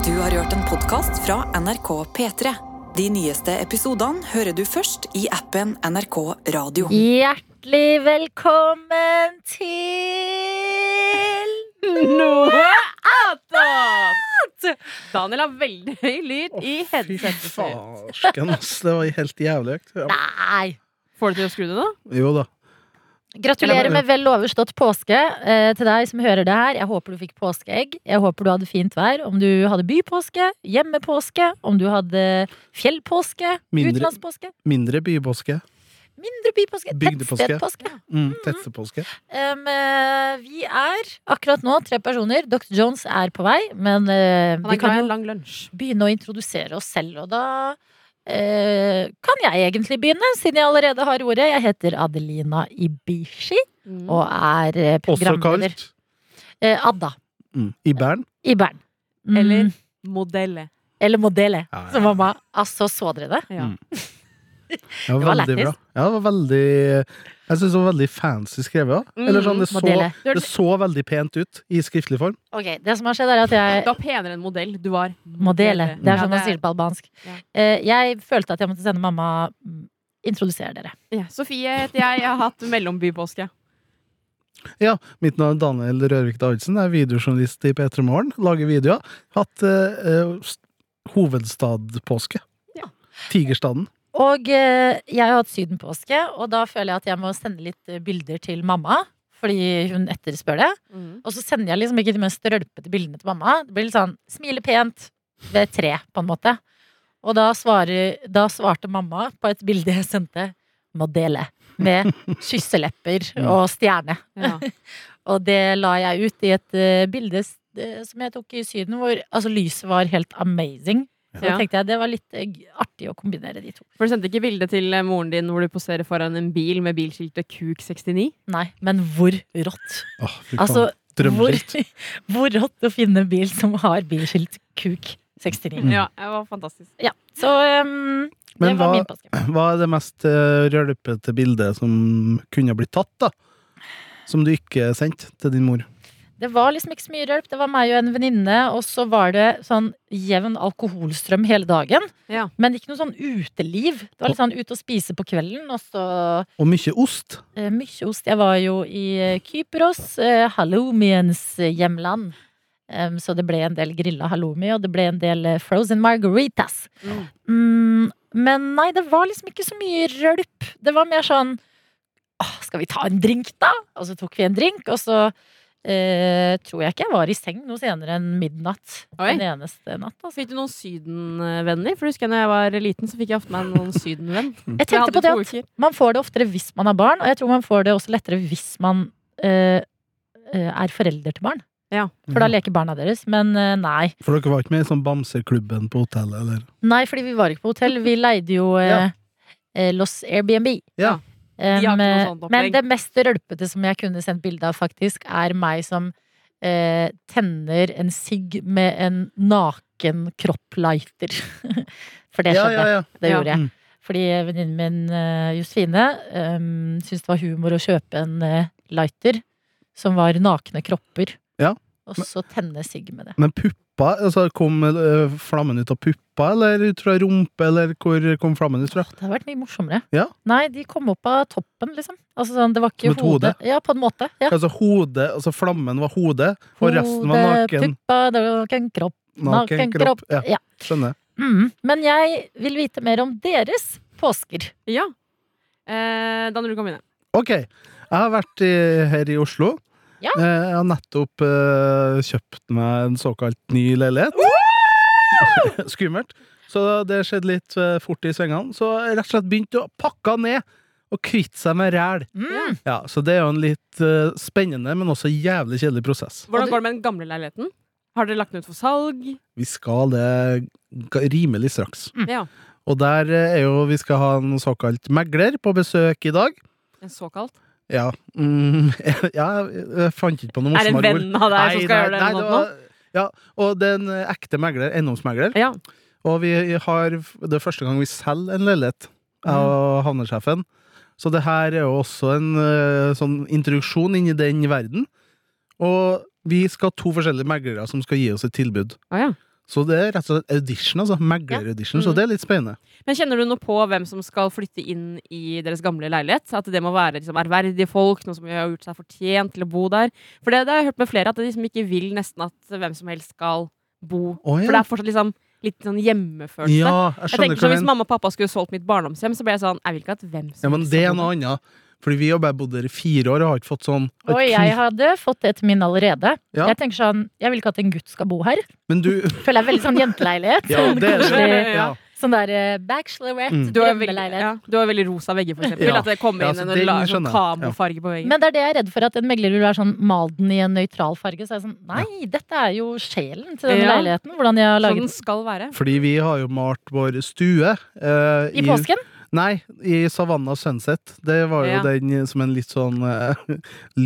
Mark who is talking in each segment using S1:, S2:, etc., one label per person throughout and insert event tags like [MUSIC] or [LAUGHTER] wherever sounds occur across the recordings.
S1: En podkast fra NRK P3. De nyeste episodene hører du først i appen NRK Radio.
S2: Hjertelig velkommen til
S3: Noe annet! Daniel har veldig høy lyd i headsetet sitt.
S4: farsken, ass. Det var helt jævlig høyt. Ja.
S2: Nei!
S3: Får du til å skru det, da?
S4: Jo da.
S2: Gratulerer med vel overstått påske eh, til deg som hører det her. Jeg håper du fikk påskeegg. Jeg håper du hadde fint vær. Om du hadde bypåske, hjemmepåske, om du hadde fjellpåske,
S4: Mindre-
S2: utenlandspåske,
S4: Mindre bypåske.
S2: mindre bypåske,
S4: Bygdepåske.
S2: tettstedpåske.
S4: Mm, Tettepåske.
S2: Em, eh, vi er akkurat nå tre personer. Dr. Jones er på vei, men eh,
S3: Han
S2: vi
S3: er glad
S2: kan
S3: i
S2: jo
S3: en lang lunsj.
S2: begynne å introdusere oss selv, og da eh, kan jeg egentlig begynne, siden jeg allerede har ordet. Jeg heter Adelina Ibishi
S3: Mm.
S2: og er eh,
S4: Også
S2: programleder.
S4: kalt
S2: Eh, Adda
S4: mm, i Bern.
S2: i Bern. Mm,
S3: Eller modelle.
S2: Eller Modele,
S4: Ja, ja.
S2: som mamma. Altså, så dere det?
S3: Ja.
S4: Mm. Ja,
S2: Det var
S4: veldig bra.
S2: lættis.
S4: Ja, det var veldig Jeg syns det var veldig fancy skrevet. da. Eller sånn, det så,
S2: Modelle.
S3: Du er,
S4: det så veldig pent ut i skriftlig form.
S2: Ok, det som har skjedd, er at jeg
S3: Eh, du er penere enn modell. Du var
S2: Modele. Det er
S3: Ja,
S2: sånn man sier det på albansk.
S3: Ja.
S2: Eh, jeg følte at jeg måtte sende mamma mm, Introdusere dere.
S3: Ja, Sofie heter jeg. Jeg har hatt mellombypåske.
S4: Ja, Mitt navn er Daniel Rørvik Davidsen. Jeg er videojournalist i P3 Morgen. Lager videoer. Hatt eh, eh, s- hovedstadpåske.
S3: Ja.
S4: Tigerstaden.
S2: Og eh, jeg har hatt sydenpåske, og da føler jeg at jeg må sende litt eh, bilder til mamma. Fordi hun etterspør det. Og så sender jeg liksom ikke de mest rølpete bildene til mamma. Det blir litt sånn smile pent ved tre, på en måte. Og da, svarer, da svarte mamma på et bilde jeg sendte, må dele. Med kysselepper og stjerne.
S3: Ja.
S2: Og det la jeg ut i et eh, bilde s- eh, som jeg tok i Syden, hvor altså, lyset var helt amazing. Så da
S3: Ja.
S2: tenkte jeg det var litt eh, g- artig å kombinere de to.
S3: For du sendte ikke bilde til eh, moren din hvor du poserer foran en bil med bilskiltet KUK69?
S2: Nei, men hvor rått?
S4: Åh, fy faen.
S2: Altså, hvor, [LAUGHS]
S4: Drømmeskilt.
S2: hvor rått å finne en bil som har bilskilt KUK 69.
S4: Mm.
S3: Ja, det var fantastisk.
S2: Ja, så um, det
S4: Men
S2: var
S4: hva-
S2: min påske.
S4: Hva er det mest eh, rølpete bildet som kunne blitt tatt, da? Som du ikke sendte til din mor?
S2: Det var liksom ikke så mye hjelp. Det var meg og en venninne, og så var det sånn jevn alkoholstrøm hele dagen.
S3: Ja.
S2: Men ikke noe sånn uteliv. Det var litt sånn ut og spise på kvelden, og så
S4: Og mye ost.
S2: eh, mye ost. Jeg var jo i eh, Kypros, eh, halloumiens hjemland. Em, så det ble en del grilla halloumi, og det ble en del eh, frozen margaritas.
S3: Mm.
S2: Mm, men nei, det var liksom ikke så mye rølp. Det var mer sånn «Åh, Skal vi ta en drink, da? Og så tok vi en drink, og så eh, tror jeg ikke jeg var i seng noe senere enn midnatt.
S3: Oi.
S2: Den eneste natt, altså.
S3: Fikk du noen sydenvenner? For jeg husker jeg når jeg var liten, så fikk jeg ofte meg noen sydenvenn.
S2: Jeg
S3: Jeg
S2: [LAUGHS]
S3: hadde
S2: tenkte på det
S3: to
S2: at
S3: uker.
S2: man får det oftere hvis man har barn, og jeg tror man får det også lettere hvis man eh, eh, er forelder til barn.
S3: Ja.
S2: For
S4: Mm.
S2: da leker barna deres. Men eh, nei.
S4: For dere var ikke med i sånn Bamseklubben på hotellet, eller?
S2: Nei, fordi vi var ikke på hotell. Vi leide
S4: [LAUGHS]
S2: jo eh, eh, Los Airbnb.
S4: Ja.
S2: Um,
S3: De har ikke noe sånt
S2: men
S3: opplegg.
S2: det mest rølpete som jeg kunne sendt bilde av, faktisk, er meg som eh, tenner en sigg med en naken kropplighter. [LAUGHS] For det
S4: ja,
S2: skjedde.
S4: ja, Mm. ja.
S2: Det
S3: Ja.
S2: gjorde jeg. Fordi venninnen min eh, Josefine um, syntes det var humor å kjøpe en eh, lighter som var nakne kropper.
S4: Ja.
S2: Og så tenne sigg med det.
S4: Men puppa, altså kom eh, flammen ut av puppa, eller ut fra rumpe, eller hvor kom flammen ut fra?
S2: Det hadde vært mye morsommere.
S4: Ja.
S2: Nei, de kom opp av toppen, liksom. Altså sånn, det var ikke
S4: Som et hode?
S2: hodet. Ja, på en måte. Ja.
S4: Altså hodet, altså flammen var hodet, og resten var
S2: Hode,
S4: naken.
S2: Puppa, naken kropp.
S4: Naken, kropp. Ja,
S2: Ja.
S4: skjønner.
S2: Mm. Men jeg vil vite mer om deres påsker.
S3: Ja. Eh, Daniel, du kan begynne.
S4: Ok, jeg har vært i, her i Oslo.
S2: Ja.
S4: Eh, Jeg har nettopp eh, kjøpt meg en såkalt ny leilighet. [LAUGHS] Skummelt. Så det skjedde litt eh, fort i svingene. Så jeg rett og slett begynte å pakke ned og kvitte seg med ræl.
S2: Mm.
S4: Ja, så det er jo en litt eh, spennende, men også jævlig kjedelig prosess.
S3: Hvordan
S2: Og du-
S3: går det med den gamle leiligheten? Har dere lagt den ut for salg?
S4: Vi skal det ga- rimelig straks.
S3: Ja.
S4: Og der eh, er jo vi skal ha en såkalt megler på besøk i dag.
S3: En såkalt?
S4: Ja, mm, [LAUGHS] ja jeg fant ikke på noe
S3: Er det en
S4: morsommere ord.
S3: venn av deg som skal gjøre det?
S4: nei,
S3: eller
S4: det
S3: noe sånt
S4: var- ja, og det er en eh, ekte megler, eiendomsmegler.
S3: nå? Ja.
S4: Og vi har, det er første gang vi selger en leilighet, jeg
S3: Mm.
S4: og havnesjefen. Så det her er jo også en eh, sånn introduksjon inn i den verden. Og vi skal ha to forskjellige meglere som skal gi oss et tilbud.
S3: Å, ja.
S4: Så det er rett og slett audition, altså. Megler-audition. Så
S3: Mm.
S4: det er litt spennende.
S3: Men kjenner du noe på hvem som skal flytte inn i deres gamle leilighet? At det må være liksom, ærverdige folk, noen som har gjort seg fortjent til å bo der? For det, det har jeg hørt med flere, at de liksom ikke vil nesten at hvem som helst skal bo.
S4: Å, ja.
S3: For det er fortsatt liksom litt sånn hjemmefølelse.
S4: Ja, jeg
S3: jeg
S4: skjønner
S3: tenker sånn,
S4: hva du
S3: Hvis
S4: mener.
S3: mamma og pappa skulle solgt mitt barndomshjem, så ble jeg sånn Jeg vil ikke at hvem som
S4: Ja, men
S3: helst
S4: det
S3: skal
S4: er
S3: bo
S4: noe
S3: der.
S4: annet. Fordi vi har bare bodd der i fire år og har ikke fått sånn
S2: Og jeg hadde fått det til min allerede.
S4: Ja.
S2: Jeg tenker sånn, jeg vil ikke at en gutt skal bo her.
S4: Men du
S3: [LAUGHS]
S2: Føler jeg er veldig sånn jenteleilighet. [LAUGHS]
S4: Ja, det er det.
S2: Koselig.
S4: Ja.
S2: Sånn der eh, bachelorette,
S4: Mm.
S3: Du har, veldig,
S2: drømmeleilighet.
S3: ja, du har veldig rosa vegger, for eksempel.
S4: Ja.
S3: At det kommer
S4: Ja,
S3: inn
S4: så
S3: en
S4: den
S3: la- sånn
S4: skjønner jeg. Ja.
S3: kamofarge på veggen.
S2: Men det er det jeg er redd for, at en megler vil være sånn mal den i en nøytral farge. Så er jeg sånn, nei, dette er jo sjelen til denne
S3: Ja.
S2: leiligheten. Hvordan jeg har
S3: Sånn
S2: laget
S3: den skal være.
S4: Fordi vi har jo malt vår stue. eh,
S2: den. I påsken.
S4: Nei, i Savannah Sunset. Det var jo
S3: Ja.
S4: den eh, som en litt sånn eh, [LAUGHS]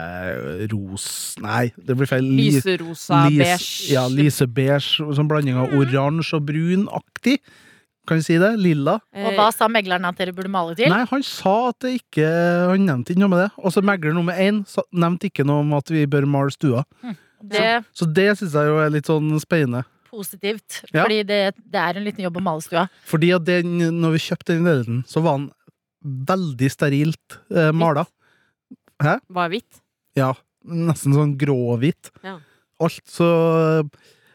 S4: lyseros Nei, det blir feil. Li-
S3: Lyserosa,
S4: lys-
S3: beige. Mm.
S4: Ja, lysebeige. Sånn blanding av oransje og brun-aktig. Kan vi si det? Lilla.
S3: Eh,
S2: Og hva sa megleren at dere burde male til?
S4: Eh, Nei, han sa at det ikke Han nevnte ikke noe med det. Og så megler nummer én sa- nevnte ikke noe om at vi bør male stua.
S2: Det er
S4: Så det syns jeg jo er litt sånn spennende.
S2: positivt.
S4: Ja.
S2: Fordi det, det er en liten jobb å male stua.
S4: Fordi at den, når vi kjøpte den leiligheten, så var den veldig sterilt eh, mala.
S3: Hva er hvitt?
S4: Ja, nesten sånn grå-hvitt.
S3: Ja.
S4: Alt, så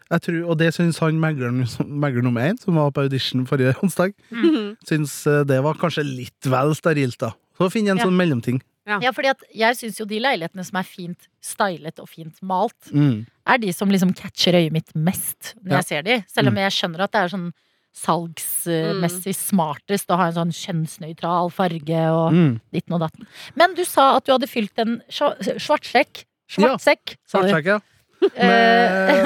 S4: jeg tror, Og det syns han megleren, megler nummer én, som var på audition forrige onsdag,
S3: Mm. [LAUGHS]
S4: syns eh, det var kanskje litt vel sterilt, da. Så finn en
S2: Ja.
S4: sånn mellomting.
S2: Ja, fordi at jeg syns jo de leilighetene som er fint stylet og fint malt,
S4: Mm.
S2: er de som liksom catcher øyet mitt mest når
S4: Ja. Mm.
S2: jeg ser de. Selv om jeg skjønner at det er sånn salgsmessig smartest å ha en sånn kjønnsnøytral farge og
S4: Mm.
S2: ditten og datten. Men du sa at du hadde fylt en sj- svartsekk.
S4: Ja,
S2: Svartsekk, sa du.
S4: Svartsjekke.
S2: Eh,
S4: Men-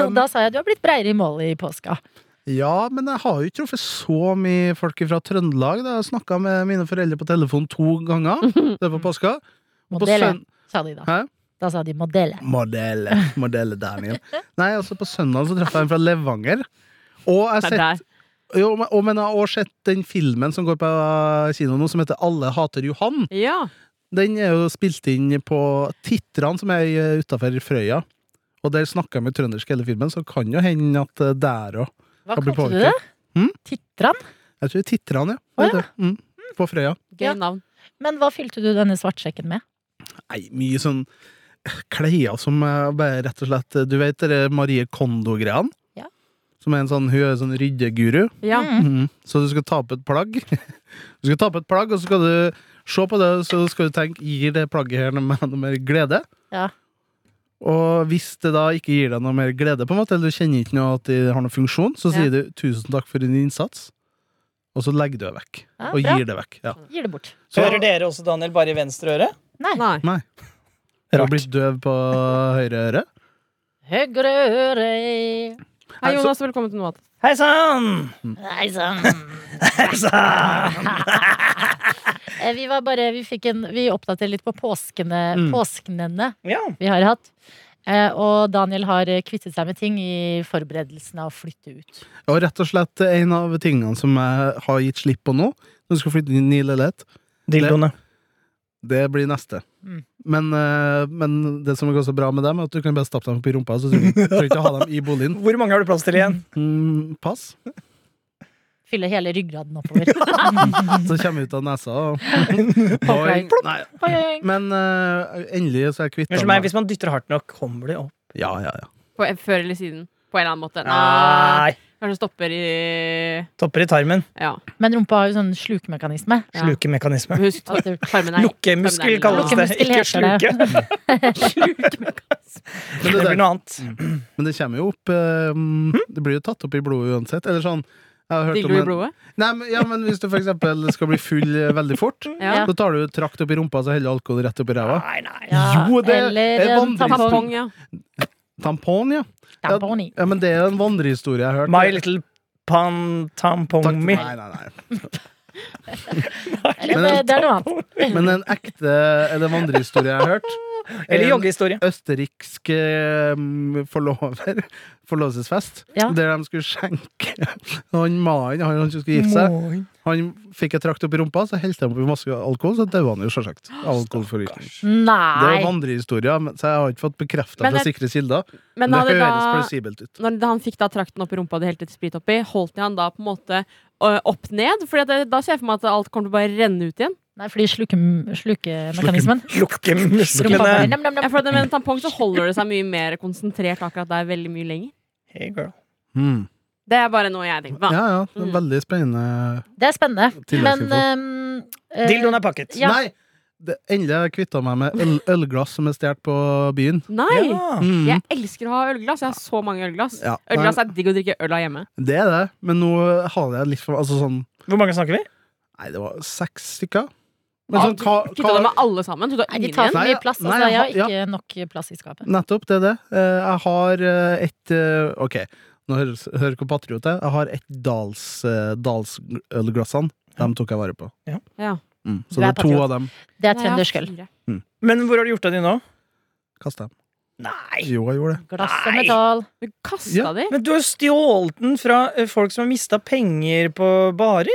S2: [LAUGHS] og da sa jeg at du har blitt breiere i målet i påska.
S4: Ja, men jeg har jo ikke truffet så mye folk fra Trøndelag. Da. Jeg snakka med mine foreldre på telefon to ganger det var på påska. Og på
S2: Modell, sa de da.
S4: Hæ?
S2: Da sa de modell.
S4: Modell, modell Daniel. Nei, altså på søndag så traff jeg en fra Levanger. Og jeg
S3: Det
S4: sett,
S3: er der.
S4: jo, men- og, men jeg har også sett den filmen som går på kino nå, som heter Alle hater Johan.
S3: Ja.
S4: Den er jo spilt inn på Titran, som er utafor Frøya. Og der snakker jeg med trøndersk hele filmen, så kan jo hende at eh, der òg
S2: Hva
S4: Kan bli
S2: kalte du det?
S4: påvirket. Mm?
S2: Titran?
S4: Jeg tror Titran, ja.
S2: Å,
S4: Vet du. Mm, på Frøya.
S3: Gøy
S2: Ja.
S3: navn.
S2: Men hva fylte du denne svartsekken med?
S4: Nei, mye sånn klær som eh, bare rett og slett Du vet det er Marie Kondo-greiene?
S2: Ja.
S4: Som er en sånn, hun er en sånn ryddeguru.
S3: Ja.
S2: Mm.
S4: Mhm. Så du skal ta på et plagg. [LAUGHS] Du skal ta på et plagg, og så skal du se på det, og så skal du tenke gir det plagget her noe mer, noe mer glede.
S2: Ja.
S4: Og hvis det da ikke gir deg noe mer glede, på en måte, eller du kjenner ikke noe at det har noen funksjon, så
S3: Ja.
S4: sier du 'tusen takk for din innsats', og så legger du det vekk.
S2: Ja,
S4: og
S2: bra.
S4: gir det vekk. Ja.
S2: Gir det bort.
S4: Så
S5: Hører dere også, Daniel, bare i venstre øre?
S3: Nei.
S4: du har
S5: Rart.
S4: blitt døv på høyre øre.
S2: Høyre øre
S3: Hei,
S4: Nei, så-
S3: Jonas. Velkommen til Noat.
S5: Hei sann!
S2: Nei sånn. sann.
S5: Hei sann!
S2: Eh, Vi var bare Vi fikk en Vi oppdaterer litt på påskene,
S4: Mm.
S2: påsknene
S5: Ja.
S2: vi har hatt. Eh, og Daniel har eh, kvittet seg med ting i forberedelsene av å flytte ut.
S4: Og rett og slett en av tingene som jeg har gitt slipp på nå, når du skal flytte inn i ny leilighet,
S5: Dildoene.
S4: Det blir neste.
S2: Mm.
S4: Men, eh, men det som er så bra med dem, er at du kan bare stappe dem opp i rumpa. Så du trenger trenger ikke å ha dem i boligen.
S5: Hvor mange har du plass til igjen?
S4: Mm, pass.
S2: Fylle hele ryggraden oppover.
S4: Så kommer jeg ut av nesa
S5: [LAUGHS]
S4: og
S2: Boing.
S4: Boing. Nei.
S2: Boing.
S4: Men eh, endelig så er jeg kvitta
S5: Unnskyld meg, hvis man dytter hardt nok, kommer det opp.
S4: Ja, ja, ja.
S3: På, eh, før eller siden. På en eller annen måte. Nei.
S5: Nei.
S3: Kanskje stopper i
S5: Topper i tarmen.
S3: Ja.
S2: Men rumpa har jo sånn slukemekanisme.
S3: ja.
S5: Slukemekanisme.
S3: Husk,
S2: At det-
S3: tarmen er
S5: Lukkemuskel kalles det.
S2: Lukkemuskel
S5: Ikke
S2: heter
S5: sluke.
S4: Men
S5: [LAUGHS] Det
S4: det,
S5: blir
S4: der,
S5: noe annet.
S4: men det kommer jo opp eh, Det blir jo tatt opp i blodet uansett. Eller sånn jeg har hørt
S3: Digger du i
S4: om en,
S3: blodet?
S4: nei, men, ja, men Hvis du for eksempel skal bli full eh, veldig
S5: [LAUGHS]
S4: fort,
S3: Ja.
S4: så tar du trakt opp i rumpa, så heller alkohol rett opp i ræva.
S5: Nei, nei.
S2: Ja,
S4: Jo, det er
S2: eller en
S4: vandring.
S2: tampong.
S3: Tampong, ja.
S4: Tampon, ja.
S2: tampong. i.
S4: ja. Men det er en vandrehistorie jeg har hørt.
S5: [LAUGHS] My little pan
S4: Takk-
S5: tampong me.
S4: Nei, nei, nei.
S2: Eller, eh,
S4: Men
S2: det,
S4: en
S2: det er noe annet.
S4: Men en ekte eller vandrehistorie jeg har hørt
S5: Eller joggehistorie.
S4: Østerriksk eh, forlover forlovelsesfest,
S2: Ja.
S4: der de skulle skjenke han mannen han, han som skulle gifte seg. Han fikk et trakt opp i rumpa, så helte han oppi masse alkohol, så daua han jo selvsagt. av Alkoholforgiftning. Det er
S2: Nei!
S4: vandrehistorier, men- så jeg har ikke fått bekrefta
S3: Men
S4: fra
S3: det-
S4: sikre kilder.
S3: Men
S4: Men det
S3: hadde
S4: høres
S3: da,
S4: plausibelt ut.
S3: når han fikk da trakten opp i rumpa og det helte litt sprit oppi, holdt de han da på en måte ø, opp ned? For da ser jeg for meg at alt kommer til å bare renne ut igjen.
S2: Nei, fordi sluke- slukemekanismen
S5: Lukke
S2: Rumpa bare
S5: musklene.
S2: nam, nam, nam.
S3: Ja, for at med en tampong så holder det seg mye mer konsentrert akkurat der veldig mye lenger.
S5: Hey girl.
S4: Mm.
S3: Det er bare noe jeg tenker
S4: Ja,
S3: på. da.
S4: ja. Det er
S3: Mm.
S4: veldig spennende.
S2: Det er spennende. Men
S4: Tilleggsinfo.
S2: ehm, eh,
S5: Dildoen er pakket.
S2: Ja.
S4: Nei! Det, endelig har jeg kvitta meg med øl, ølglass som er stjålet på byen.
S3: Nei!
S5: Ja.
S4: Mm.
S3: Jeg elsker å ha ølglass. Jeg har så mange ølglass.
S4: Ja.
S3: Ølglass er digg å drikke øl av hjemme.
S4: Det er det, men nå har jeg litt for Altså sånn
S5: Hvor mange snakker vi?
S4: Nei, det var seks stykker.
S3: Ja,
S4: Men sånn, hva,
S3: Kvitta deg
S4: hva,
S3: med alle sammen. Du tar
S2: Nei, de
S3: ingen
S2: tar
S3: igjen.
S2: for
S4: Nei,
S2: mye plass.
S4: nei,
S2: Altså, jeg har
S4: ja.
S2: ikke nok plass i skapet.
S4: nettopp, det er det. Eh, Jeg har eh, et eh, OK, nå høres- hører hvor patriot jeg er. Jeg har et Dals, eh, Dalsølglassene. Dem tok jeg vare på.
S3: Ja.
S4: Mm.
S2: Du
S4: Så
S2: er
S4: det er to
S2: patriot.
S4: av dem.
S2: Det er
S3: Nei, jeg har
S2: trøndersk øl.
S3: fire.
S5: Men hvor har du gjort av de nå?
S4: Kasta dem.
S5: Nei.
S4: Jo, jeg gjorde det.
S2: Glass og
S5: Nei.
S2: metall.
S3: Du kasta
S4: Ja.
S3: de?
S5: Men du har stjålet den fra eh, folk som har mista penger på barer.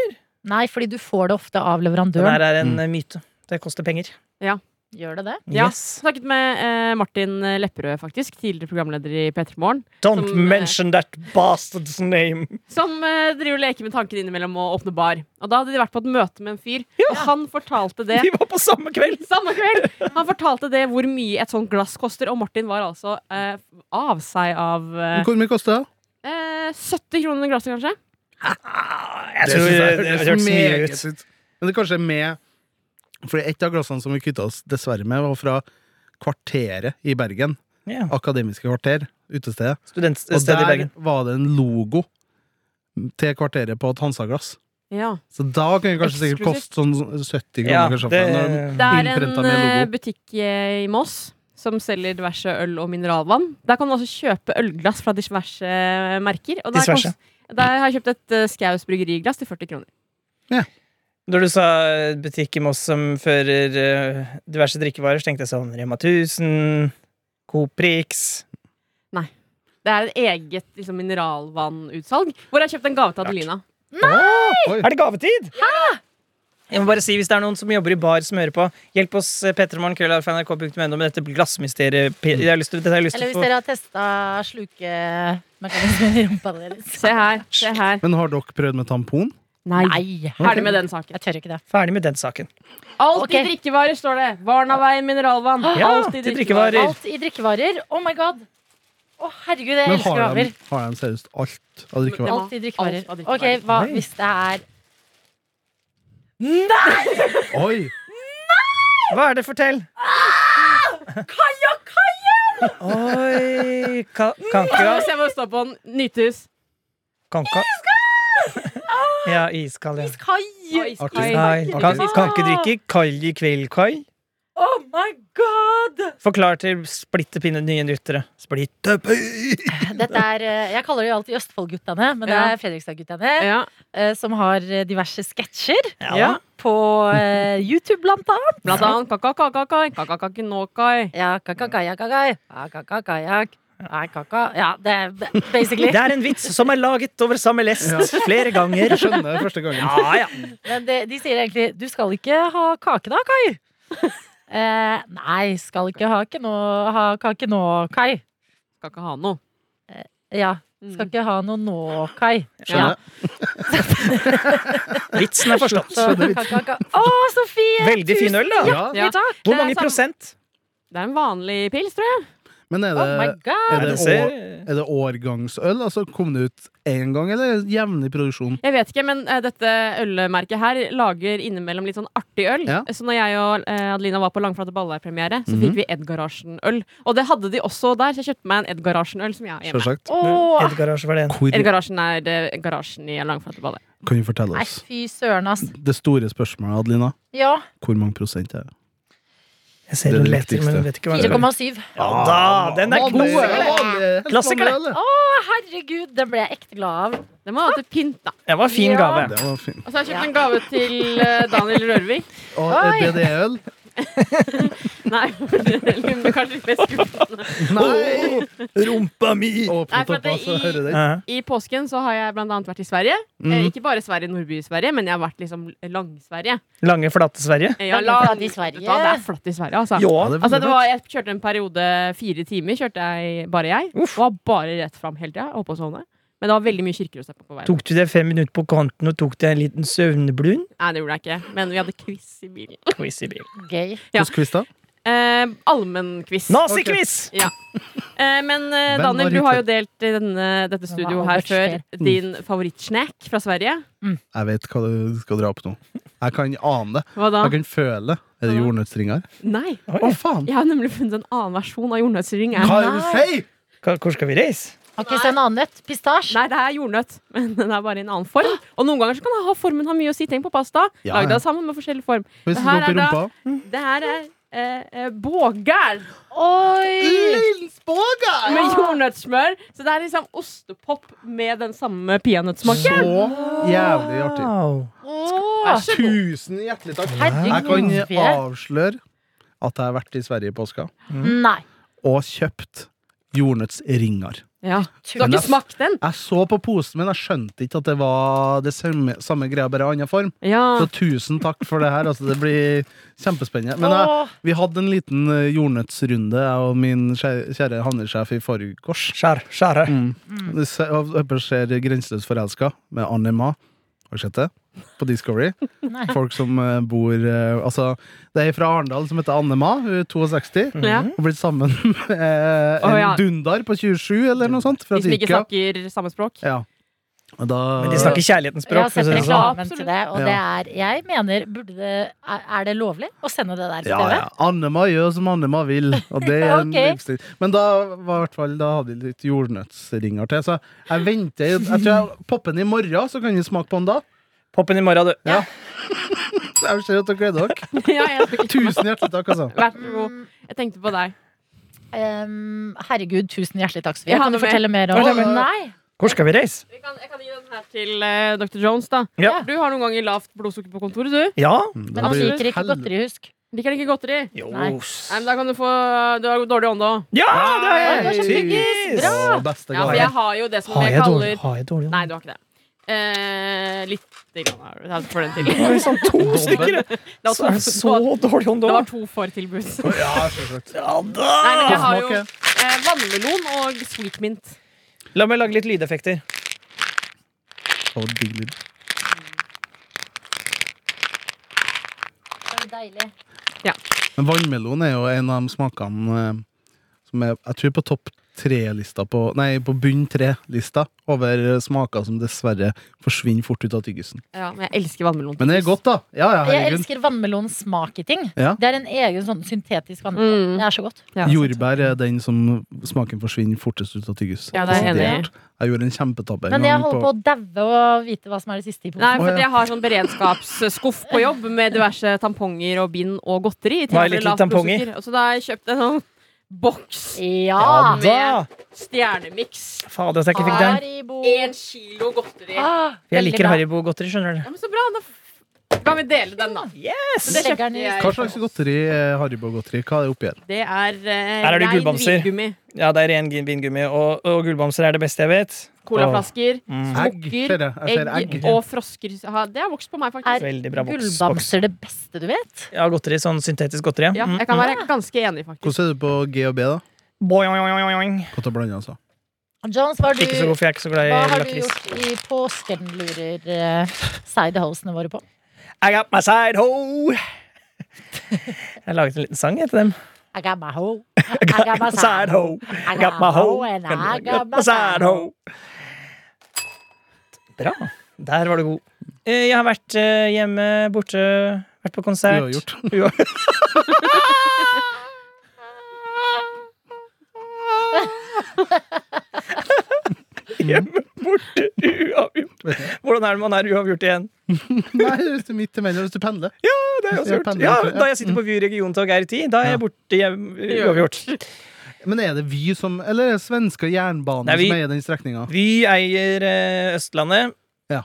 S2: Nei, fordi du får det ofte av
S5: Den her
S2: leverandøren.
S5: er en
S4: Mm.
S5: eh, myte. Det koster penger.
S2: Gjør det det?
S3: Ja.
S5: Yes.
S3: Snakket med eh, Martin Lepperød, faktisk. Tidligere programleder i P3 Morgen.
S5: Don't
S3: Som, eh,
S5: mention that bastard's name.
S3: Som eh, driver og leker med tanken innimellom å åpne bar. Og da hadde de vært på et møte med en fyr, og han fortalte [LAUGHS] det
S5: Vi var på samme kveld!
S3: samme kveld. Han fortalte det hvor mye et sånt glass koster, og Martin var altså eh, av seg av eh,
S4: Hvor mye kosta det?
S3: eh, 70 kroner glasset, kanskje.
S5: Ah, Jeg tror det hørtes mye ut.
S4: Men det er kanskje med For et av glassene som vi kvitta oss dessverre med, var fra Kvarteret i Bergen.
S5: Ja.
S4: Akademiske kvarter, utestedet. Og
S5: Studentstedet i
S4: der
S5: Bergen.
S4: var det en logo til kvarteret på et Hansa-glass.
S3: Ja.
S4: Så da kunne det kanskje sikkert
S3: Eksklusivt.
S4: koste sånn 70 kroner.
S5: Ja,
S4: kanskje, for
S5: det,
S4: den.
S3: Det er
S4: Innprentet
S3: en
S4: med logo.
S3: eh, butikk eh, i Moss som selger diverse øl og mineralvann. Der kan du også kjøpe ølglass fra diverse merker. Og der,
S5: Diverse.
S3: kost- der har jeg kjøpt et eh, Skaus bryggeriglass til 40 kroner.
S5: Når du sa eh, butikk i Moss som fører eh, diverse drikkevarer, så tenkte jeg sånn Rema 1000, Coop Prix
S3: Det er et eget liksom, mineralvannutsalg. Hvor jeg har kjøpt en gave til Adelina.
S4: Oi.
S5: Er det gavetid? Jeg må bare si, Hvis det er noen som jobber i bar som hører på, hjelp oss eh, petremorgenkrøllalfa.nrk.no med dette glassmysteriet. Pe- Jeg har lyst til, dette har jeg lyst
S2: Eller
S5: til
S2: hvis
S5: å få
S2: dere har testa slukemekanismen i rumpa deres.
S3: Se her. se her
S4: Men har dere prøvd med tampon?
S3: Nei.
S2: Nei,
S3: Ferdig med den saken.
S2: jeg tør ikke det.
S5: ferdig med den saken.
S3: Alt
S2: Ok.
S3: i drikkevarer, står det. Varnaveien mineralvann.
S5: Ja,
S3: Alt i
S5: til
S3: drikkevarer.
S5: drikkevarer.
S2: Alt i drikkevarer. Oh my god! Å, herregud, jeg
S4: Men
S2: elsker
S4: har de,
S2: gaver.
S4: har de seriøst alt av drikkevarer?
S2: Alt i drikkevarer.
S3: Alt av
S2: Ok,
S3: drikkevarer.
S2: hva
S5: Oi.
S2: hvis det er
S4: Oi!
S5: Hva er det? Fortell! Kajakkaien! Oi ka, Kanka.
S3: Se hva det står på den. Nythus.
S5: kanka. Ja, iskald. Ja.
S2: Kai!
S4: Artig.
S5: Nei, kan,
S4: Artig.
S5: kan ikke drikke kald i kveld, Kai.
S2: Oh my god!
S5: Forklar til splitter pinne nye lyttere. Splitter pinne!
S2: Dette er, eh, jeg kaller det jo alltid Østfoldguttene, men det
S3: Ja.
S2: er Fredrikstadguttene.
S3: Ja.
S2: eh, Som har eh, diverse sketsjer
S5: Ja.
S2: på eh, YouTube, blant annet.
S3: Blant annet kakakakakai. Kakakakinåkai.
S2: Ja, kakakajakai. Ja, kakakajak. Nei, kaka Ja, det er b- basically.
S5: Det er en vits som er laget over samme lest flere ganger.
S4: Jeg skjønner det første gangen.
S5: Ja, ja.
S2: Men det, de sier egentlig 'du skal ikke ha kake da, Kai'. Eh, nei, skal ikke ha, ikke nå, ha kake nå, Kai.
S3: Skal ikke ha noe.
S2: Ja, skal ikke ha noe nå, Kai.
S4: Skjønner.
S2: Ja.
S5: Vitsen er forstått.
S2: Så, kakaka. Å, Sofie!
S5: Veldig fin øl, da.
S4: Ja.
S3: Ja.
S2: Tusen takk!
S3: Det
S5: Hvor
S3: er
S5: mange
S3: samme-
S5: prosent?
S3: Det er en vanlig pils, tror jeg.
S4: Men er
S2: Oh my
S4: det,
S2: god!
S4: er,
S5: Ja,
S4: det
S5: det ser-
S4: år, er det årgangsøl? Altså, Kom det ut én gang, eller er det jevnlig produksjon?
S3: Jeg vet ikke, men eh, dette ølmerket her lager innimellom litt sånn artig øl.
S4: Ja.
S3: Så når jeg og eh, Adelina var på Langflate Ballar-premiere, så
S4: Mhm.
S3: fikk vi Edgarasjen-øl. Og det hadde de også der, så jeg kjøpte meg en Edgarasjen-øl som jeg har hjemme.
S4: Sjølsagt.
S2: Åh,
S5: Edgarasje var det en.
S4: Hvor
S3: Edgarasjen er eh, garasjen i Langflate Ballar.
S4: kan du fortelle
S2: nei,
S4: oss?
S2: fy søren, ass.
S4: Det store spørsmålet, Adelina.
S2: Ja,
S4: Hvor mange prosent er det?
S5: Jeg ser
S4: Det er
S5: hun
S4: det
S5: leter, men hun vet ikke hva det er.
S2: 4,7.
S5: Ja da, den er
S4: Vanlig-
S5: god!
S4: Ah, vanlig- helt
S5: Klassiker,
S4: vanlig, eller?
S2: Å, herregud, den ble jeg ekte glad av.
S3: Det må være til pynt, da.
S5: Det var en fin
S2: Ja.
S5: gave.
S4: Det var fint.
S2: [LAUGHS]
S3: Og så har jeg kjøpt en gave til eh, Daniel Rørvik.
S4: Og
S2: Oi.
S4: BDE-øl?
S3: Nei, eller det er kanskje litt mer skuffende.
S4: Nei!
S5: Rumpa mi!
S4: Åpne
S3: Nei, for at
S4: toppa, så
S3: det i-
S4: hører den.
S5: Ja.
S3: I påsken så har jeg blant annet vært i Sverige. Eh,
S4: Mm.
S3: ikke bare Sverige, Nordby-Sverige, men jeg har vært liksom Lang-Sverige.
S5: Lange, flate Sverige.
S3: Eh,
S2: Ja, men
S3: jeg la-
S2: flatt i Sverige.
S3: Ja, det er flatt i Sverige, altså.
S5: Ja.
S4: Ja,
S3: Altså,
S4: det ville
S3: det
S4: vært.
S3: var, jeg kjørte en periode fire timer, kjørte jeg, bare jeg. Og var bare rett fram hele tida. Holdt på å sovne. Men det var veldig mye kirker å se på på veien.
S5: Tok du deg fem minutter på kanten og tok deg en liten søvnblund?
S3: Nei, det gjorde jeg ikke. Men vi hadde quiz i bilen.
S5: Quiz i bilen.
S2: Gøy.
S3: Ja.
S4: Hvordan quiz, da?
S3: Eh, Allmennquiz.
S5: [LAUGHS] Naziquiz!
S3: Eh, men eh,
S4: Hvem
S3: Daniel,
S4: var
S3: du har jo
S4: ute?
S3: delt i denne, dette studio her
S2: Albert
S3: før
S2: Speer.
S3: din favorittsnack fra Sverige.
S4: Jeg vet hva du skal dra på nå. Jeg kan ane det.
S3: Hva da?
S4: Jeg kan føle. Er det jordnøttstringer?
S3: Nei.
S5: Oi.
S4: Å, faen!
S3: Jeg har nemlig funnet en annen versjon av jordnøttsring.
S4: Hva er det du
S2: Nei.
S4: sier?!
S5: Hva- Hvor skal vi reise?
S2: Har ikke sett en annen nøtt. Pistasje.
S3: Nei, det er jordnøtt, [LAUGHS] men den er bare i en annen form. Og noen ganger så kan ha formen ha mye å si. Tenk på pasta.
S4: Ja,
S3: Lag
S4: ja.
S3: det sammen med forskjellig form.
S4: Hvis
S3: Det
S4: du
S3: her
S4: går
S3: er
S4: til
S3: da-
S4: rumpa
S3: Det her er eh, eh, bågæl
S2: Oi!
S4: Spågard!
S3: med jordnøttsmør. Så det er liksom ostepop med den samme peanøttsmaken.
S4: Så jævlig artig.
S3: Ah,
S5: Wow.
S2: Åh.
S4: Tusen hjertelig takk. Jeg kan
S2: Herregud.
S4: avsløre at jeg har vært i Sverige i påska
S2: Nei.
S4: og kjøpt jordnøttsringer.
S3: Mm. Ja. Du har
S4: Men
S3: ikke
S4: jeg-
S3: smakt den?
S4: Jeg så på posen min, jeg skjønte ikke at det var det samme, samme greia, bare i annen form.
S3: Ja.
S4: Så tusen takk for det her. Altså, det blir kjempespennende. Men eh, jeg,
S2: Åh.
S4: vi hadde en liten eh, jordnøttsrunde, jeg og min skje- kjære handelsjef i forgårs.
S5: Skjær, skjære.
S4: Mm. Det se- og Høper ser Grenseløst forelska med Anne Ma. Har du sett det?
S3: [LAUGHS]
S4: På Discovery.
S2: Nei.
S4: Folk som eh, bor eh, Altså, det er ei fra Arendal som heter Anne Ma. Hun er 62.
S3: Mm. ja.
S4: Og blitt sammen [LAUGHS] med eh, en
S3: Å, ja.
S4: dundar på 27, eller noe sånt. Fra
S3: De som ikke
S4: Tyrkia.
S3: snakker samme språk.
S4: Ja. Og da
S5: Men de snakker kjærlighetens
S2: Jeg
S5: språk.
S2: har sett
S5: for å si det sånn.
S2: reklamen til det, og det er Jeg mener, burde det Er er det lovlig å sende det der på
S4: Ja,
S2: TV?
S4: ja. Annema gjør som Annema vil. Og det
S2: [LAUGHS]
S4: er en
S2: Ok.
S4: livsstil. Men da, var i hvert fall, da hadde de litt jordnøttsringer til. Så jeg venter. Jeg tror jeg popper den i morgen, så kan vi smake på den da.
S5: Popp den i morgen, du.
S4: Jeg ser at dere
S2: [LAUGHS]
S4: gleder dere.
S3: [LAUGHS] ja, jeg skal ikke-
S4: Tusen hjertelig takk, altså.
S3: Vær så god. Jeg tenkte på deg.
S2: Ehm, herregud, tusen hjertelig takk, Sofie.
S3: Jeg har
S2: Kan du
S3: det med.
S2: fortelle mer om
S4: Jeg har det med.
S2: Nei!
S5: Hvor skal vi reise?
S3: Jeg kan, jeg kan gi den her til eh, Dr. Jones, da.
S5: Ja.
S3: Du har noen ganger lavt blodsukker på kontoret, du.
S5: Ja?
S4: Mm, Det
S2: Men han
S4: blir-
S2: liker ikke
S4: Helvete.
S2: godteri, husk.
S3: Liker ikke godteri.
S5: Jo.
S2: Nei.
S3: Nei, men da kan du få Du har dårlig ånde òg.
S5: Ja, det
S2: Oi, det
S5: er
S2: var så
S5: tyggis!
S2: Bra!
S4: Å, beste
S3: Ja, for
S4: gave.
S3: jeg har jo det som
S5: Har
S3: jeg
S5: jeg
S3: kaller
S5: dårlig, har jeg dårlig
S3: Nei, du har ikke det. Eh, Lite grann har du. Takk for
S5: [LAUGHS]
S3: den til.
S5: Det var sånn to stykker.
S3: Det
S5: Så,
S3: var to,
S5: så dårlig hånd
S3: det var
S5: òg.
S3: to for tilbud.
S4: Ja, selvsagt.
S5: Ja da!
S3: Nei, men jeg har jo
S4: Smaker.
S3: eh, vannmelon og sweetmint.
S5: La meg lage litt lydeffekter.
S4: Å, digg lyd.
S2: Deilig.
S4: Men vannmelon er jo en av de smakene eh, som er jeg tror på topp tre-lista på Nei, på bunn tre-lista over eh, smaker som dessverre forsvinner fort ut av tyggisen.
S3: Ja, men jeg elsker vannmelon.
S4: Men det er godt, da. Ja, ja,
S2: Jeg
S4: herregud.
S2: elsker vannmelons smak i ting.
S4: Ja.
S2: Det er en egen sånn syntetisk vannmelon.
S3: Mm.
S2: Det er så godt.
S3: Ja.
S4: Jordbær er den som smaken forsvinner fortest ut av tyggis.
S3: Ja, det er jeg enig i.
S4: Desidert. Jeg gjorde en kjempetabbe. en
S2: Men jeg
S4: gang
S2: holder på å daue og vite hva som er det siste i
S3: Nei,
S2: posen.
S4: Å,
S3: for
S4: ja.
S3: jeg har sånn beredskapsskuff på jobb med diverse tamponger og bind og godteri. i
S5: Hva er
S3: tilfelle
S5: litt
S3: lavt
S5: tampong i?
S3: blodsukker. Og så da har jeg kjøpt en sånn boks
S5: Ja
S2: Ja!
S5: da!
S3: stjernemiks.
S5: Fader, at jeg ikke fikk den.
S2: Haribo.
S3: Én kilo godteri.
S2: Ah,
S5: For jeg
S2: veldig
S5: liker
S2: bra.
S5: Haribo-godteri, skjønner du.
S3: Ja, men så bra, da f- kan vi dele den, da.
S5: Yes!
S3: Så det
S2: Legger den
S3: kjøpte
S2: i-
S4: Ah, Hva
S3: jeg.
S4: slags godteri er Haribo-godteri? Hva er det oppi her?
S3: Det er eh,
S5: Her er det
S3: rein
S5: gullbamser.
S3: vingummi.
S5: Ja, det er ren gin- vingummi, og, og gullbamser er det beste jeg vet.
S3: Colaflasker,
S5: Mm.
S4: Egg, ser jeg. Jeg ser
S3: egg
S4: egg.
S3: og frosker. Ha, Det har vokst på meg,
S2: Er
S3: faktisk.
S5: Veldig bra boks. boks.
S2: Gullbamser det beste du vet?
S5: Ja, godteri. Sånn syntetisk godteri. Mm,
S3: Ja, jeg kan
S5: mhm.
S3: være ganske enig, faktisk.
S4: Hvordan er det på G og B, da?
S5: Boing, boing, boing, boing.
S4: Godt å blande,
S2: [LAUGHS]
S4: altså.
S2: Jones, hva har
S5: Ikke så
S2: du,
S5: god, for jeg er ikke så
S2: hva
S5: glad i
S2: har du
S5: lakris.
S2: gjort i påsken, lurer uh, sidehosene våre på?
S5: I got my side ho! [LAUGHS] Jeg laget en liten sang etter dem.
S2: I got my hoe.
S5: [LAUGHS]
S2: I got my
S5: Side
S2: side
S5: ho, I got my ho,
S2: and
S5: I got my side ho. Bra. Der var du god. Eh, Jeg har vært eh, hjemme, borte, vært på konsert. [LAUGHS]
S4: Uavgjort.
S5: Hjemme, borte, uavgjort. Hvordan er det man er uavgjort igjen?
S4: Nei, hvis du er midt imellom, hvis du pendler.
S5: Ja, Det har jeg også
S4: Ja,
S5: gjort.
S4: pendler,
S5: Ja,
S4: ja.
S5: da jeg sitter på Vy regiontog her i ti, da er jeg borte hjem, uavgjort.
S4: Men er det Vy som Eller er det svenske jernbanen
S5: Nei, Vy.
S4: som eier den strekninga?
S5: Vy eier eh, Østlandet.
S4: Ja.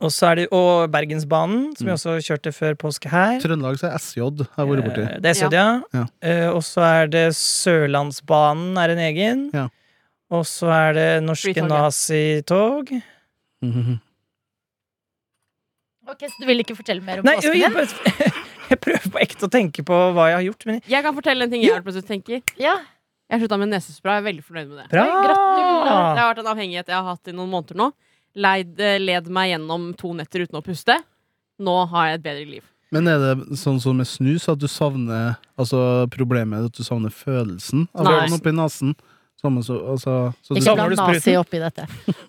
S5: Og, så er det, og Bergensbanen, som vi også kjørte før påske her.
S4: Trøndelag så er SJ jeg har vært borti.
S5: Eh, Det er Sødia.
S4: Ja.
S5: Eh, og så er det Sørlandsbanen er en egen.
S4: Ja.
S5: Og så er det Norske
S3: Flytoget.
S5: nazitog.
S3: Eh.
S4: Mhm.
S2: Ok, Så du vil ikke fortelle mer om
S5: Nei,
S2: påsken
S5: jeg, jeg,
S2: din?
S5: bare- [LAUGHS] jeg prøver på ekte å tenke på hva jeg har gjort. Men
S3: Jeg kan fortelle en ting jeg har plutselig tenker.
S2: Ja,
S3: Jeg slutta med nesespray. Jeg er veldig fornøyd med det.
S5: bra!
S3: Det har vært en avhengighet jeg har hatt i noen måneder nå. Leid, eh, led meg gjennom to netter uten å puste. Nå har jeg et bedre liv.
S4: Men er det sånn som med snus, at du savner Altså problemet er at du savner følelsen av
S3: Nei.
S4: den oppi nesen? Samme så, altså, så du,
S2: ikke
S5: Savner
S2: blant
S5: du spruten?
S2: nazi oppi dette.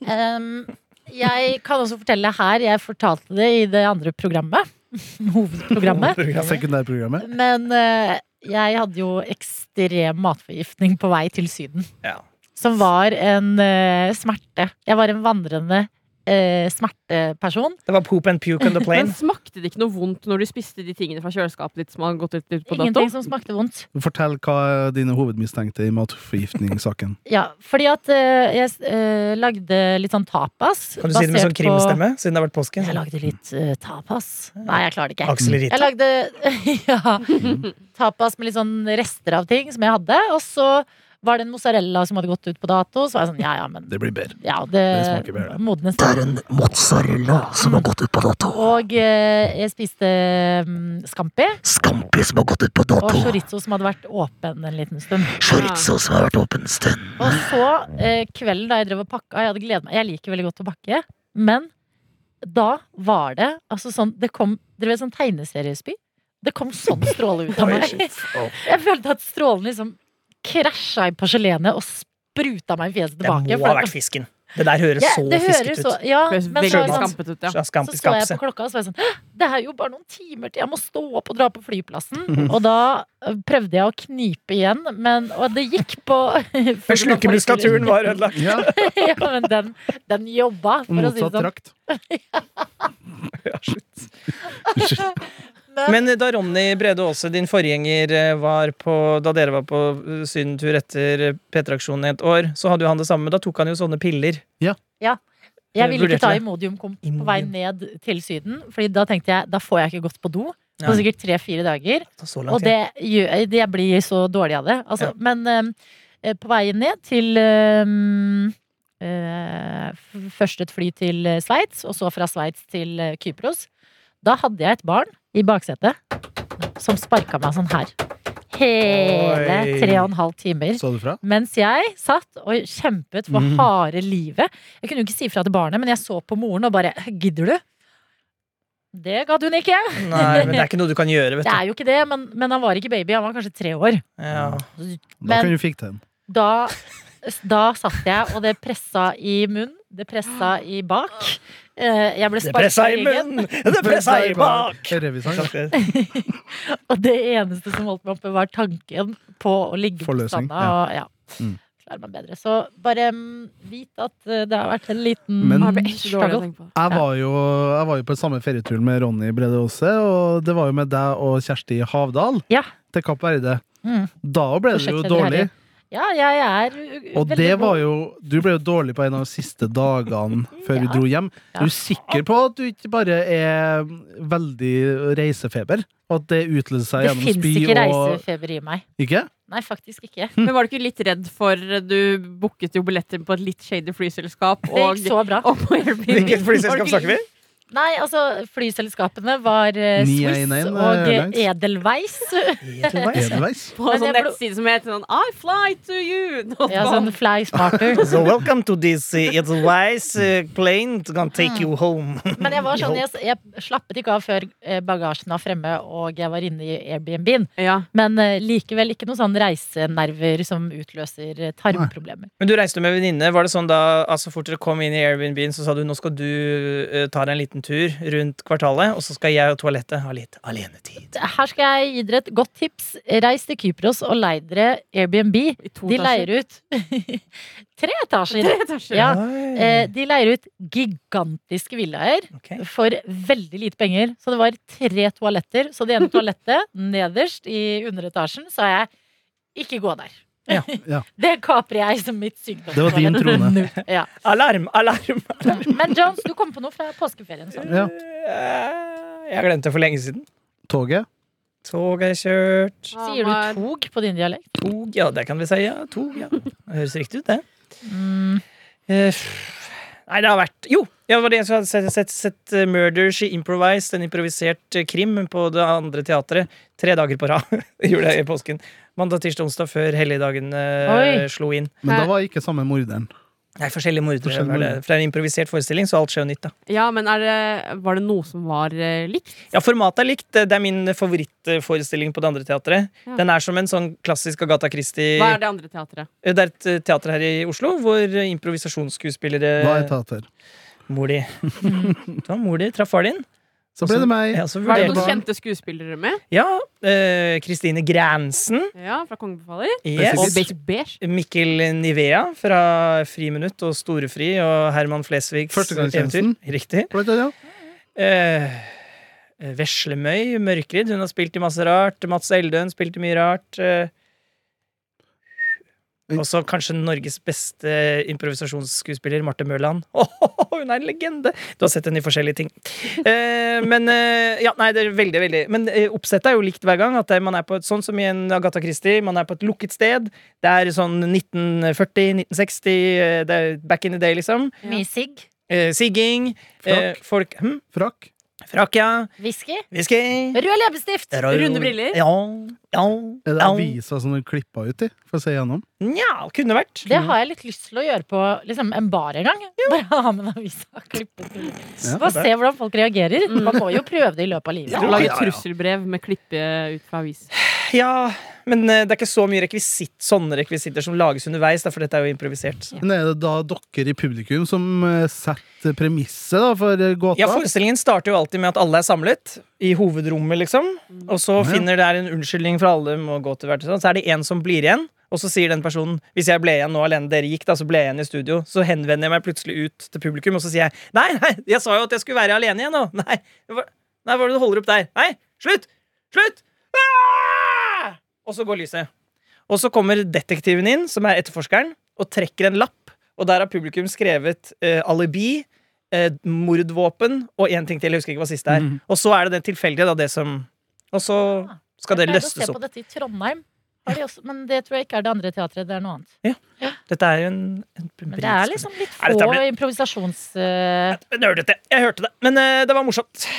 S2: Um, jeg kan også fortelle her, jeg fortalte det i det andre programmet. [LAUGHS] Hovedprogrammet.
S4: [LAUGHS]
S5: Programmet.
S4: Sekundærprogrammet?
S2: Men eh, jeg hadde jo ekstrem matforgiftning på vei til Syden.
S5: Ja.
S2: Som var en eh, smerte. Jeg var en vandrende eh, smerteperson.
S5: Det var poop and puke on the
S2: [LAUGHS]
S3: Men
S5: plane.
S3: smakte det ikke noe vondt når du spiste de tingene fra kjøleskapet ditt som har gått ut ut på dato?
S2: Ingenting som smakte vondt.
S4: Fortell hva er dine hovedmistenkte i matforgiftningssaken.
S2: Ja, fordi at eh, jeg eh, lagde litt sånn tapas.
S5: Kan du si det med
S2: basert
S5: sånn
S2: på-
S5: krimstemme? Siden det har vært påske.
S2: Jeg lagde litt eh, tapas. Nei, jeg klarer det ikke.
S5: Aksel Rita.
S2: Jeg lagde [LAUGHS] ja, tapas med litt sånn rester av ting som jeg hadde. Og så var det en mozzarella som hadde gått ut på dato. Så var jeg sånn, ja, ja, men
S4: Det blir bedre.
S2: ja, [LAUGHS] det,
S4: det smaker bedre.
S2: modnes. Det er en mozzarella som har gått ut på dato. Og eh, jeg spiste mm, scampi. Og chorizo som hadde vært åpen en liten stund.
S3: Ja.
S2: Og så, eh, kvelden da jeg drev og pakka Jeg hadde gledet meg, jeg liker veldig godt å pakke Men da var det Altså sånn, det kom Dere vet sånn tegneseriespy Det kom sånn stråle ut av
S5: [LAUGHS] Oi,
S2: meg
S5: shit. Å,
S2: Jeg følte at strålen liksom Krasja i porselenet og spruta meg i fjeset
S5: Det
S2: tilbake
S5: må ha vært fisken. Det der høres
S2: ja,
S5: så
S2: det hører
S5: fisket
S2: så,
S5: ut.
S2: ja,
S3: Føles
S2: men så,
S3: Veldig
S2: var det sånn,
S3: skampet ut, ja.
S5: Så
S2: så så jeg
S5: Skampiskapse.
S2: på klokka og så var jeg sånn «Hæ, Det er jo bare noen timer til jeg må stå opp og dra på flyplassen. Og
S5: [LAUGHS]
S2: da eh, prøvde jeg å knipe igjen, men, og det gikk
S5: [LAUGHS]
S2: på [LAUGHS]
S5: Men Slurkemuskulaturen var ødelagt.
S4: Ja,
S2: ja, men den, den jobba, [LAUGHS] for å si det
S4: Motsatt
S2: sånn.
S4: trakt.
S2: [LAUGHS]
S5: Ja, slutt.
S4: Unnskyld.
S5: Men eh, da Ronny Brede Aase, din forgjenger, eh, var på Da dere var på eh, sydentur etter eh, P3-aksjonen i et år, så hadde jo han det samme. Da tok han jo sånne piller.
S2: Jeg ville ikke ta
S5: Vurderte det.
S2: Imodium kom på
S5: Imodium.
S2: vei ned til Syden, Fordi da tenkte jeg da får jeg ikke gått på do. På
S5: Nei.
S2: sikkert tre-fire dager.
S5: Det tar så lang
S2: Og
S5: tid.
S2: det gjør det Jeg blir så dårlig av det. Altså,
S5: Ja.
S2: Men eh, eh, på veien ned til eh, eh, f- Først et fly til eh, Sveits, og så fra Sveits til eh, Kypros. Da hadde jeg et barn i baksetet som sparka meg sånn her. Hele
S5: Oi.
S2: tre og en halv timer.
S4: Sa du fra?
S2: Mens jeg satt og kjempet for
S4: Mhm.
S2: harde livet. Jeg kunne jo ikke si fra til barnet, men jeg så på moren og bare Gidder du? Det gadd hun ikke.
S5: Nei, men [LAUGHS] det er ikke noe du kan gjøre, vet
S2: Det
S5: du.
S2: er jo ikke det, men, men han var ikke baby. Han var kanskje tre år.
S5: Ja.
S4: Da
S2: Men-
S4: kan du fikk den.
S2: Da, da satt jeg, og det pressa i munnen. Det pressa i bak. Eh, Jeg ble
S5: Det
S2: sparka
S5: pressa
S2: i
S5: i
S2: ryggen.
S5: munnen! Det pressa i bak!
S4: Revisang.
S2: Og det eneste som holdt meg oppe, var tanken på å ligge på
S4: Forløsning,
S2: stranda. Og, ja.
S4: Mm.
S2: Klarer meg bedre. Så bare mm, vit at eh, det har vært en liten
S4: Men-
S3: Jeg blir ekstra dårlig av å tenke på.
S4: Jeg var, jo, jeg var jo på samme ferietur med Ronny Brede Aase, og det var jo med deg og Kjersti Havdal
S2: Ja.
S4: til Kapp Verde.
S2: Mm.
S4: Da ble det jo
S2: Prosjektleder
S4: dårlig,
S2: her Ja, jeg er u-
S4: og
S2: veldig
S4: det
S2: god.
S4: var jo Du ble jo dårlig på en av de
S2: [LAUGHS]
S4: siste dagene før vi
S2: Ja.
S4: dro hjem.
S2: Ja.
S4: Er du sikker på at du ikke bare er veldig reisefeber? Og at det utløser seg
S2: Det
S4: gjennom
S2: fins
S4: spy
S2: ikke
S4: og
S2: reisefeber i meg.
S4: Ikke?
S2: Nei, faktisk
S4: [LAUGHS]
S2: ikke.
S3: Men var du ikke litt redd for eh, Du booket jo billetter på et litt shady flyselskap,
S2: Det gikk
S3: og,
S2: så bra.
S3: [LAUGHS] og på Airbnb.
S5: Hvilket flyselskap snakker vi? [LAUGHS]
S2: Nei, altså, flyselskapene var eh, Swiss
S4: 911
S2: og eh,
S4: Airlines.
S2: Edelweiss.
S5: Edelweiss, ja.
S2: [LAUGHS]
S4: Edelweiss?
S3: På en
S2: Men
S3: sånn
S2: jeg ble-
S3: nettside som heter sånn I fly to you! [LAUGHS]
S2: Ja, sånn fly
S5: [LAUGHS]
S2: smarter.
S5: So welcome to this uh, Edelweiss uh, plane It's gonna take you home.
S2: Men jeg var sånn, jeg, jeg slappet ikke av før eh, bagasjen var fremme og jeg var inne i Airbnb-en.
S3: Ja.
S2: Men eh, likevel ikke noen sånn reisenerver som utløser eh, tarmproblemer.
S5: Men du reiste med venninne. Var det sånn da altså fort dere kom inn i Airbnb-en, så sa du nå skal du eh, ta deg en liten tur rundt kvartalet, og så skal jeg og toalettet ha litt alenetid.
S2: Her skal jeg gi dere et godt tips. Reis til Kypros og lei dere Airbnb.
S3: I to
S2: De leier ut [LAUGHS] tre etasjer.
S3: [LAUGHS] Tre etasjer.
S2: Ja,
S5: Oi.
S2: Eh, de leier ut gigantiske villaer
S5: Ok.
S2: for veldig lite penger. Så det var tre
S3: [LAUGHS]
S2: toaletter. Så det ene toalettet nederst i underetasjen sa jeg ikke gå der.
S5: Ja.
S4: Ja.
S2: Det kaprer jeg som mitt sykdomstalent.
S4: Det var din
S2: [LAUGHS]
S4: trone.
S2: Nå. Ja.
S5: Alarm! Alarm!
S2: Men Jones, du kom på noe fra påskeferien. Sånn.
S4: Ja.
S5: Eh, Jeg glemte det for lenge siden.
S4: Toget.
S5: Toget er kjørt.
S2: Sier du tog på din dialekt?
S5: Tog, ja, det kan vi si. Ja, tog, ja. Det høres riktig ut, det.
S2: Mm.
S5: Eh, Nei, det har vært Jo! Ja, det var det jeg hadde sett, sett, sett eh, Murder She Improvised, en improvisert eh, krim på det andre teatret, tre dager på rad. [LAUGHS] Gjorde jeg i påsken. Mandag, tirsdag, onsdag før helligdagen eh,
S2: Oi.
S5: slo inn.
S4: Men
S3: Hæ?
S4: da var ikke samme morderen.
S5: Nei, forskjellige mordere.
S4: Forskjellige
S5: var det.
S4: mordere.
S5: For det er en improvisert forestilling, så alt skjer jo nytt, da.
S3: Ja, men er det, var det noe som var eh, likt?
S5: Ja, formatet er likt. Det er min favorittforestilling på det andre teatret.
S3: Ja.
S5: Den er som en sånn klassisk Agatha Christie
S3: Hva er det andre teatret?
S5: Det er et eh, teater her i Oslo hvor eh, improvisasjonsskuespillere
S4: Hva er teater?
S5: Mor
S3: [LAUGHS]
S5: di. Det var mor di. Traff far din.
S4: Så
S2: Altså,
S4: ble det meg.
S5: Ja, så
S3: Var det
S5: vurderte-
S3: noen kjente skuespillere med?
S5: Ja, eh, Kristine Gransen.
S3: Ja, fra Kongebefaler?
S5: Yes.
S3: Og
S5: Og
S3: Beige Beige?
S5: Mikkel Nivea fra Friminutt og Storefri og Herman Flesvigs
S4: Førstegangstjenesten.
S5: eventyr. Riktig.
S4: Ble det det?
S5: Eh, Veslemøy Mørkredd. Hun har spilt i masse rart. Mats Eldøen spilte mye rart. Eh, også kanskje Norges beste improvisasjonsskuespiller, Marte Mørland. [LAUGHS] Åh, hun er en legende! Du har sett henne i forskjellige ting. Eh, men eh, ja, nei, det er veldig, veldig Men eh, oppsettet er jo likt hver gang. At eh, man er på et sånn som i en Agatha Christie. Man er på et lukket sted. Det er sånn 1940, 1960, eh, det er back in the day, liksom.
S2: Mye sigg.
S5: Eh, sigging. eh,
S4: Frakk.
S5: folk hm?
S4: Frakk.
S5: Frakk, ja.
S2: Whisky.
S5: Whisky.
S2: Rød leppestift.
S3: Runde briller.
S5: Ja. ja,
S4: Er det
S5: ja.
S4: avisa som du klippa ut i? Får jeg se gjennom.
S5: Nja, kunne vært.
S2: Det har jeg litt lyst til å gjøre på liksom, en bar en gang. Bare ha med en avis og klippe til. Bare se hvordan folk reagerer.
S3: Mm.
S2: Man må jo prøve det i løpet av
S4: Ja.
S2: livet.
S3: Lage
S4: ja.
S3: trusselbrev med klippe ut fra avis.
S5: Ja, men eh, det er ikke så mye rekvisitt, sånne rekvisitter som lages underveis, da, for dette er jo improvisert.
S4: Men er det da dere i publikum som eh, setter premisset da, for eh, gåta?
S5: Ja, Forestillingen starter jo alltid med at alle er samlet i hovedrommet, liksom. Og så
S4: Ja, ja.
S5: finner der en unnskyldning for alle må gå til hvert sitt. Så er det en som blir igjen, og så sier den personen Hvis jeg ble igjen nå alene, dere gikk, da, så ble jeg igjen i studio. Så henvender jeg meg plutselig ut til publikum, og så sier jeg Nei, nei, jeg sa jo at jeg skulle være alene igjen nå. Nei, hva, nei, hva er det du holder opp der? Nei, slutt! Slutt! Ah! Og så går lyset. Og så kommer detektiven inn, som er etterforskeren, og trekker en lapp. Og der har publikum skrevet eh, alibi, eh, mordvåpen og én ting til. Jeg husker ikke hva siste er.
S4: Mhm.
S5: Og så er det den tilfeldige, da, det som Og så skal det
S2: Ah, Jeg
S5: løsnes
S2: pleide å se
S5: opp.
S2: på dette i Trondheim. Har de også, men det tror jeg ikke er det andre teatret. Det er noe annet.
S5: Dette er jo en, en
S2: Men det er liksom litt
S5: Nei, dette
S2: få
S5: blir-
S2: improvisasjons... eh,
S5: Nerdete. Jeg hørte det. Men eh, det var morsomt.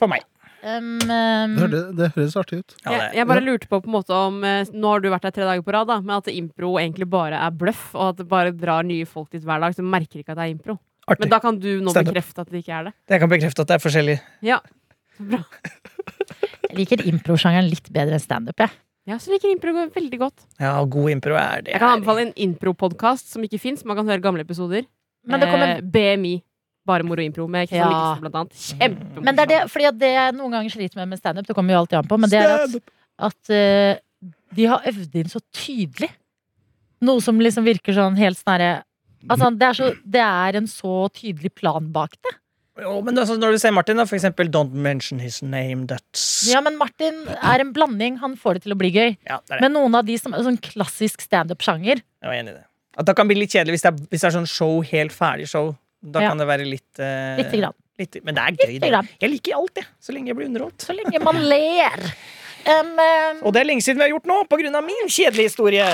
S5: For meg.
S2: em,
S4: Det,
S2: em,
S4: hørte- det høres artig ut.
S5: Ja,
S3: Jeg,
S5: det.
S3: jeg bare lurte på på en måte om eh, Nå har du vært der tre dager på rad, da, men at impro egentlig bare er bløff, og at det bare drar nye folk dit hver dag som merker ikke at det er impro.
S5: Artig.
S3: Men da kan du nå
S5: Stand up.
S3: bekrefte at det ikke er det.
S5: Jeg kan bekrefte at det er forskjellig.
S3: Ja,
S2: jeg liker improsjangeren litt bedre enn standup, jeg.
S3: ja så liker impro veldig godt.
S5: Ja, og god impro er det.
S3: Jeg kan anbefale en impro-podkast som ikke fins. Man kan høre gamle episoder.
S2: Men det, kommer,
S3: eh, BMI. Bare moro impro med
S2: Ja.
S3: Kristian Mikkelsen, blant annet. Kjempemorsomt.
S2: men det er det, fordi at det jeg noen ganger sliter med med standup, det kommer jo alltid an på, men det er at at eh, de har øvd inn så tydelig. Noe som liksom virker sånn helt sånn herre Altså, det er, så, det er en så tydelig plan bak det.
S5: Jo, men altså, når du ser Martin, da, for eksempel Don't mention his name, that's
S2: Ja, men Martin er en blanding. Han får det til å bli gøy.
S5: Ja, det er det.
S2: Men noen av de som er sånn klassisk standup-sjanger
S5: Jeg er enig i det. At det kan bli litt kjedelig hvis det er, hvis det er sånn show, helt ferdig show. Da
S2: Ja.
S5: kan det være litt, eh,
S2: Lite grann.
S5: litt- Men det er gøy,
S2: Lite
S5: det.
S2: grann.
S5: Jeg liker alt, jeg. Så lenge jeg blir underholdt.
S2: Så lenge [LAUGHS] man ler. Em, em,
S5: [LAUGHS] Og det er lenge siden vi har gjort nå, på grunn av min kjedelige historie.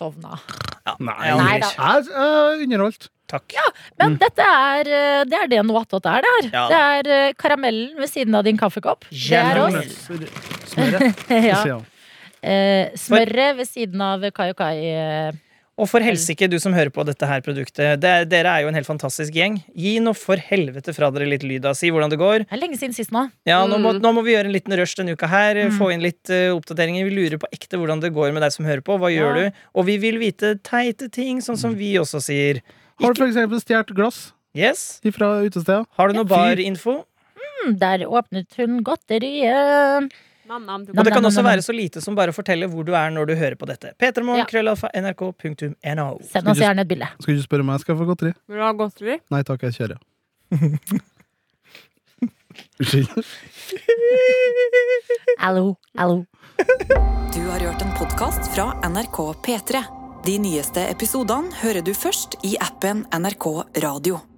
S2: sovna.
S5: Ja,
S4: Nei.
S5: jeg
S2: Nei
S5: angrer.
S2: da.
S4: Jeg er underholdt.
S5: Takk.
S2: Men dette er eh, Det er det noe attåt er, det her.
S5: Ja
S2: Det er eh, karamellen ved siden av din kaffekopp. Det er oss. [LAUGHS]
S4: Smøret.
S2: Ja.
S4: Ja.
S2: Eh, Smøret ved siden av Kai og Kai. eh,
S5: Og for helsike, du som hører på dette her produktet. Det, er- dere er jo en helt fantastisk gjeng. Gi nå for helvete fra dere litt lyd, da. Si hvordan det går.
S2: Det er lenge siden sist nå.
S5: Ja, nå må,
S3: Mm.
S5: nå må vi gjøre en liten rush denne uka her. Få
S2: Mm.
S5: inn litt eh, oppdateringer. Vi lurer på ekte hvordan det går med deg som hører på. Hva gjør
S3: Ja.
S5: du? Og vi vil vite teite ting, sånn
S2: Mm.
S5: som vi også sier.
S4: Har du f.eks. stjålet glass
S5: Yes?
S4: fra utesteder?
S5: Har du noe
S4: Ja, fy.
S5: barinfo?
S2: Mm, Der åpnet hun godteriet.
S3: Nam, nam, du
S5: Og det
S2: Nam,
S5: kan
S2: nam,
S5: også
S2: nam, nam.
S5: være så lite som bare å fortelle hvor du er når du hører på dette.
S2: Ja.
S5: p3morgen.nrk.no.
S2: Send oss gjerne et bilde.
S4: Skal du ikke spørre om jeg skal få godteri?
S3: Vil du ha godteri?
S4: Nei takk, jeg kjører. Unnskyld.
S2: Hallo, hallo.
S1: Du har hørt en podkast fra NRK P3. De nyeste episodene hører du først i appen NRK Radio.